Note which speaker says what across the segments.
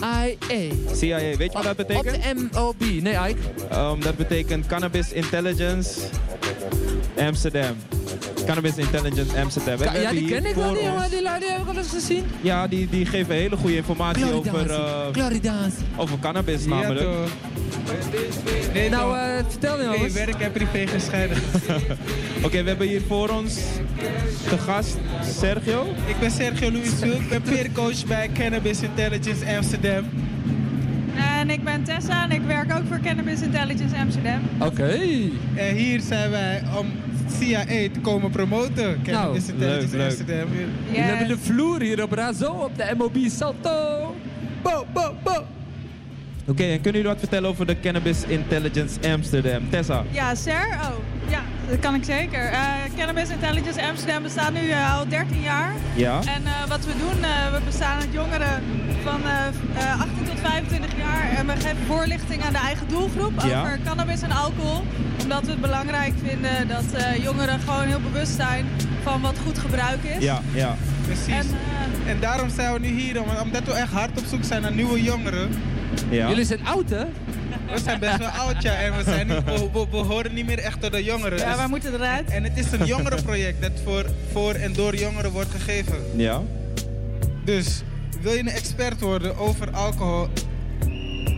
Speaker 1: CIA.
Speaker 2: CIA, weet je wat dat
Speaker 1: Op
Speaker 2: betekent?
Speaker 1: de MOB. Nee, Ike.
Speaker 2: Ehm, dat betekent Cannabis Intelligence Amsterdam. Cannabis Intelligence Amsterdam. We
Speaker 1: Ja,
Speaker 2: hebben
Speaker 1: die
Speaker 2: hier
Speaker 1: ken ik
Speaker 2: voor
Speaker 1: wel, die
Speaker 2: ons-
Speaker 1: jongen. Die lui die heb ik al eens gezien.
Speaker 2: Ja, die, die geven hele goede informatie over, eh,
Speaker 1: Gloridance. Gloridance.
Speaker 2: over cannabis namelijk.
Speaker 3: toch. Nee,
Speaker 1: Nou,
Speaker 3: nou,
Speaker 1: eh, vertel nou
Speaker 3: nee,
Speaker 1: eens.
Speaker 3: werk en privé gescheiden.
Speaker 2: Oké, we hebben hier voor ons de gast Sergio.
Speaker 3: ik ben Sergio Louis Zulk, ik ben peercoach bij Cannabis Intelligence Amsterdam.
Speaker 4: En ik ben Tessa en ik werk ook voor Cannabis Intelligence Amsterdam.
Speaker 1: Oké.
Speaker 3: En hier zijn wij om CIA te komen promoten. Cannabis
Speaker 1: Nou,
Speaker 3: Intelligence
Speaker 2: leuk, leuk.
Speaker 3: Amsterdam.
Speaker 4: Yes.
Speaker 1: We hebben de vloer hier op Razo op de MOB Salto. Bo, bo, bo.
Speaker 2: Oké, en kunnen jullie wat vertellen over de Cannabis Intelligence Amsterdam? Tessa.
Speaker 4: Ja, Ser? Oh, ja, dat kan ik zeker. Eh, Cannabis Intelligence Amsterdam bestaat nu eh, al 13 jaar.
Speaker 2: Ja?
Speaker 4: En eh, wat we doen, eh, we bestaan uit jongeren van eh, eh, 18 tot 25 jaar. En we geven voorlichting aan de eigen doelgroep
Speaker 2: Ja.
Speaker 4: over cannabis en alcohol. Omdat we het belangrijk vinden dat eh, jongeren gewoon heel bewust zijn van wat goed gebruik is.
Speaker 2: Ja, ja.
Speaker 4: En,
Speaker 3: Precies.
Speaker 4: eh,
Speaker 3: En daarom zijn we nu hier, om- omdat we echt hard op zoek zijn naar nieuwe jongeren.
Speaker 2: ja.
Speaker 1: Jullie zijn oud, hè?
Speaker 3: We zijn best wel oud, ja, en we, zijn nu, we, we- we horen niet meer echt tot de jongeren.
Speaker 4: ja,
Speaker 3: Dus-
Speaker 4: wij moeten eruit.
Speaker 3: en het is een jongerenproject dat voor, voor en door jongeren wordt gegeven.
Speaker 2: Ja?
Speaker 3: Dus wil je een expert worden over alcohol?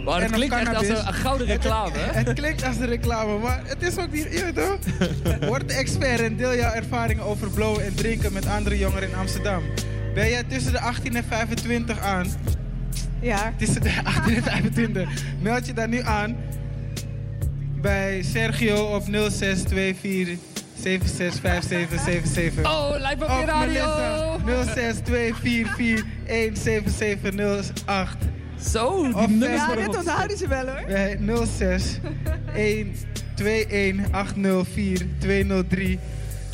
Speaker 1: Maar het
Speaker 3: en of
Speaker 1: klinkt echt als
Speaker 3: cannabis?
Speaker 1: een, een gouden
Speaker 3: Het-
Speaker 1: reclame, hè?
Speaker 3: Het, klinkt als een reclame, maar het is ook niet eerder. toch? Word de expert en deel jouw ervaringen over blowen en drinken met andere jongeren in Amsterdam. Ben jij tussen de 18 en 25 aan?
Speaker 4: Ja.
Speaker 3: Tussen de 18 en 25. Meld je daar nu aan bij Sergio op 0624 765777.
Speaker 1: Oh, lijkt op je
Speaker 3: Of
Speaker 1: radio.
Speaker 3: Melissa 0624417708.
Speaker 1: Zo, die
Speaker 3: Of,
Speaker 1: nummers
Speaker 3: eh,
Speaker 4: Ja,
Speaker 1: worden
Speaker 4: dit
Speaker 1: wat-
Speaker 4: onthouden ze wel hoor.
Speaker 3: Bij 06 121804203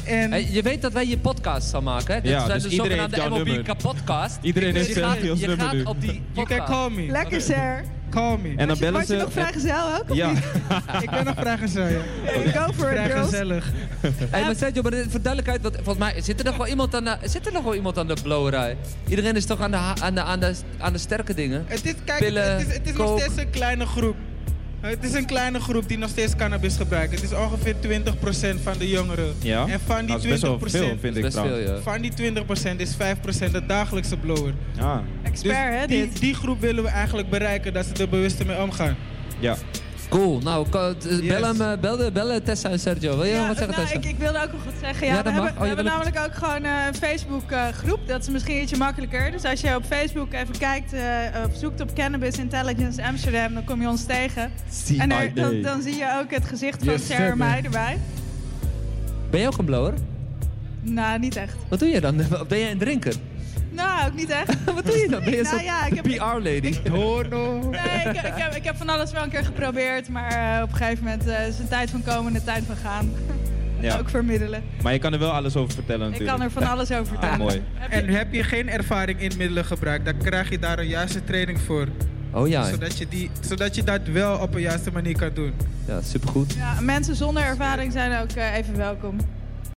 Speaker 3: En
Speaker 1: Hey, je weet dat wij je podcast gaan maken, hè? Dit
Speaker 2: Ja,
Speaker 1: zijn
Speaker 2: dus
Speaker 1: de
Speaker 2: iedereen heeft
Speaker 1: zogenaamde
Speaker 2: jouw nummer.
Speaker 1: MOB podcast.
Speaker 2: Iedereen
Speaker 1: Dus
Speaker 2: heeft
Speaker 1: je
Speaker 2: zijn
Speaker 1: gaat,
Speaker 2: Sergio's
Speaker 1: je
Speaker 2: nummer
Speaker 1: gaat
Speaker 2: nu.
Speaker 1: op die
Speaker 3: you can
Speaker 1: podcast.
Speaker 3: call me.
Speaker 4: Lekker Ser.
Speaker 3: Call me.
Speaker 2: En dan bellen
Speaker 4: Was je
Speaker 2: ze...
Speaker 4: nog vrijgezel ook? of
Speaker 2: Ja,
Speaker 4: niet?
Speaker 3: ik ben nog vrijgezel, ja.
Speaker 4: Go for it girls.
Speaker 3: Vrijgezellig.
Speaker 1: Hey, maar Sergio, maar voor duidelijkheid, want volgens mij zit er nog wel iemand aan de, zit er nog wel iemand aan de blowerij? Iedereen is toch aan de, ha- aan de, aan de, aan de sterke dingen?
Speaker 3: Het is, kijk,
Speaker 1: Pillen,
Speaker 3: het is, het is nog
Speaker 1: coke.
Speaker 3: steeds een kleine groep. Het is een kleine groep die nog steeds cannabis gebruikt. Het is ongeveer 20% van de jongeren.
Speaker 2: ja.
Speaker 3: En van die
Speaker 2: dat is best wel
Speaker 3: 20%,
Speaker 2: veel, vind ik
Speaker 1: Best veel,
Speaker 2: trouwens.
Speaker 1: ja.
Speaker 3: van die 20% is 5% de dagelijkse blower.
Speaker 2: Ja,
Speaker 3: Dus
Speaker 4: Expert hè
Speaker 3: die,
Speaker 4: dit.
Speaker 3: die groep willen we eigenlijk bereiken dat ze er bewust mee omgaan.
Speaker 2: ja.
Speaker 1: Cool, nou, ko- t-
Speaker 3: Yes.
Speaker 1: bel, hem, eh, bel, de- bel Tessa en Sergio. Wil je nog
Speaker 4: Ja,
Speaker 1: wat zeggen,
Speaker 4: nou,
Speaker 1: Tessa?
Speaker 4: ik, ik wilde ook nog wat zeggen. Ja,
Speaker 1: Ja, dat
Speaker 4: we
Speaker 1: mag.
Speaker 4: hebben,
Speaker 1: Oh,
Speaker 4: we
Speaker 1: je
Speaker 4: hebben
Speaker 1: wil het-
Speaker 4: namelijk ook gewoon eh, een Facebook-groep. dat is misschien ietsje makkelijker. Dus als je op Facebook even kijkt eh, of zoekt op Cannabis Intelligence Amsterdam, dan kom je ons tegen. En er- dan, dan zie je ook het gezicht van
Speaker 3: Yes,
Speaker 4: Ser
Speaker 3: sir,
Speaker 4: en
Speaker 3: man.
Speaker 4: mij erbij.
Speaker 1: Ben je ook een blower?
Speaker 4: Nou, niet echt.
Speaker 1: Wat doe je dan? Ben jij een drinker?
Speaker 4: Nou, ook niet echt.
Speaker 1: Wat doe je dan? Ben je
Speaker 4: Nee, nou
Speaker 1: zo'n
Speaker 4: ja, ik heb-
Speaker 1: PR-lady?
Speaker 3: Hono.
Speaker 4: Nee, ik, ik, heb, ik heb van alles wel een keer geprobeerd, maar eh, op een gegeven moment eh, is een tijd van komen en een tijd van gaan.
Speaker 2: Ja.
Speaker 4: Ook vermiddelen.
Speaker 2: Maar je kan er wel alles over vertellen
Speaker 4: Ik
Speaker 2: natuurlijk.
Speaker 4: kan er van alles over vertellen.
Speaker 2: Ah, mooi.
Speaker 3: En heb je geen ervaring in middelengebruik, dan krijg je daar een juiste training voor.
Speaker 1: Oh ja,
Speaker 3: Zodat je, die, zodat je dat wel op een juiste manier kan doen.
Speaker 1: ja supergoed.
Speaker 4: Ja, mensen zonder ervaring zijn ook eh, even welkom.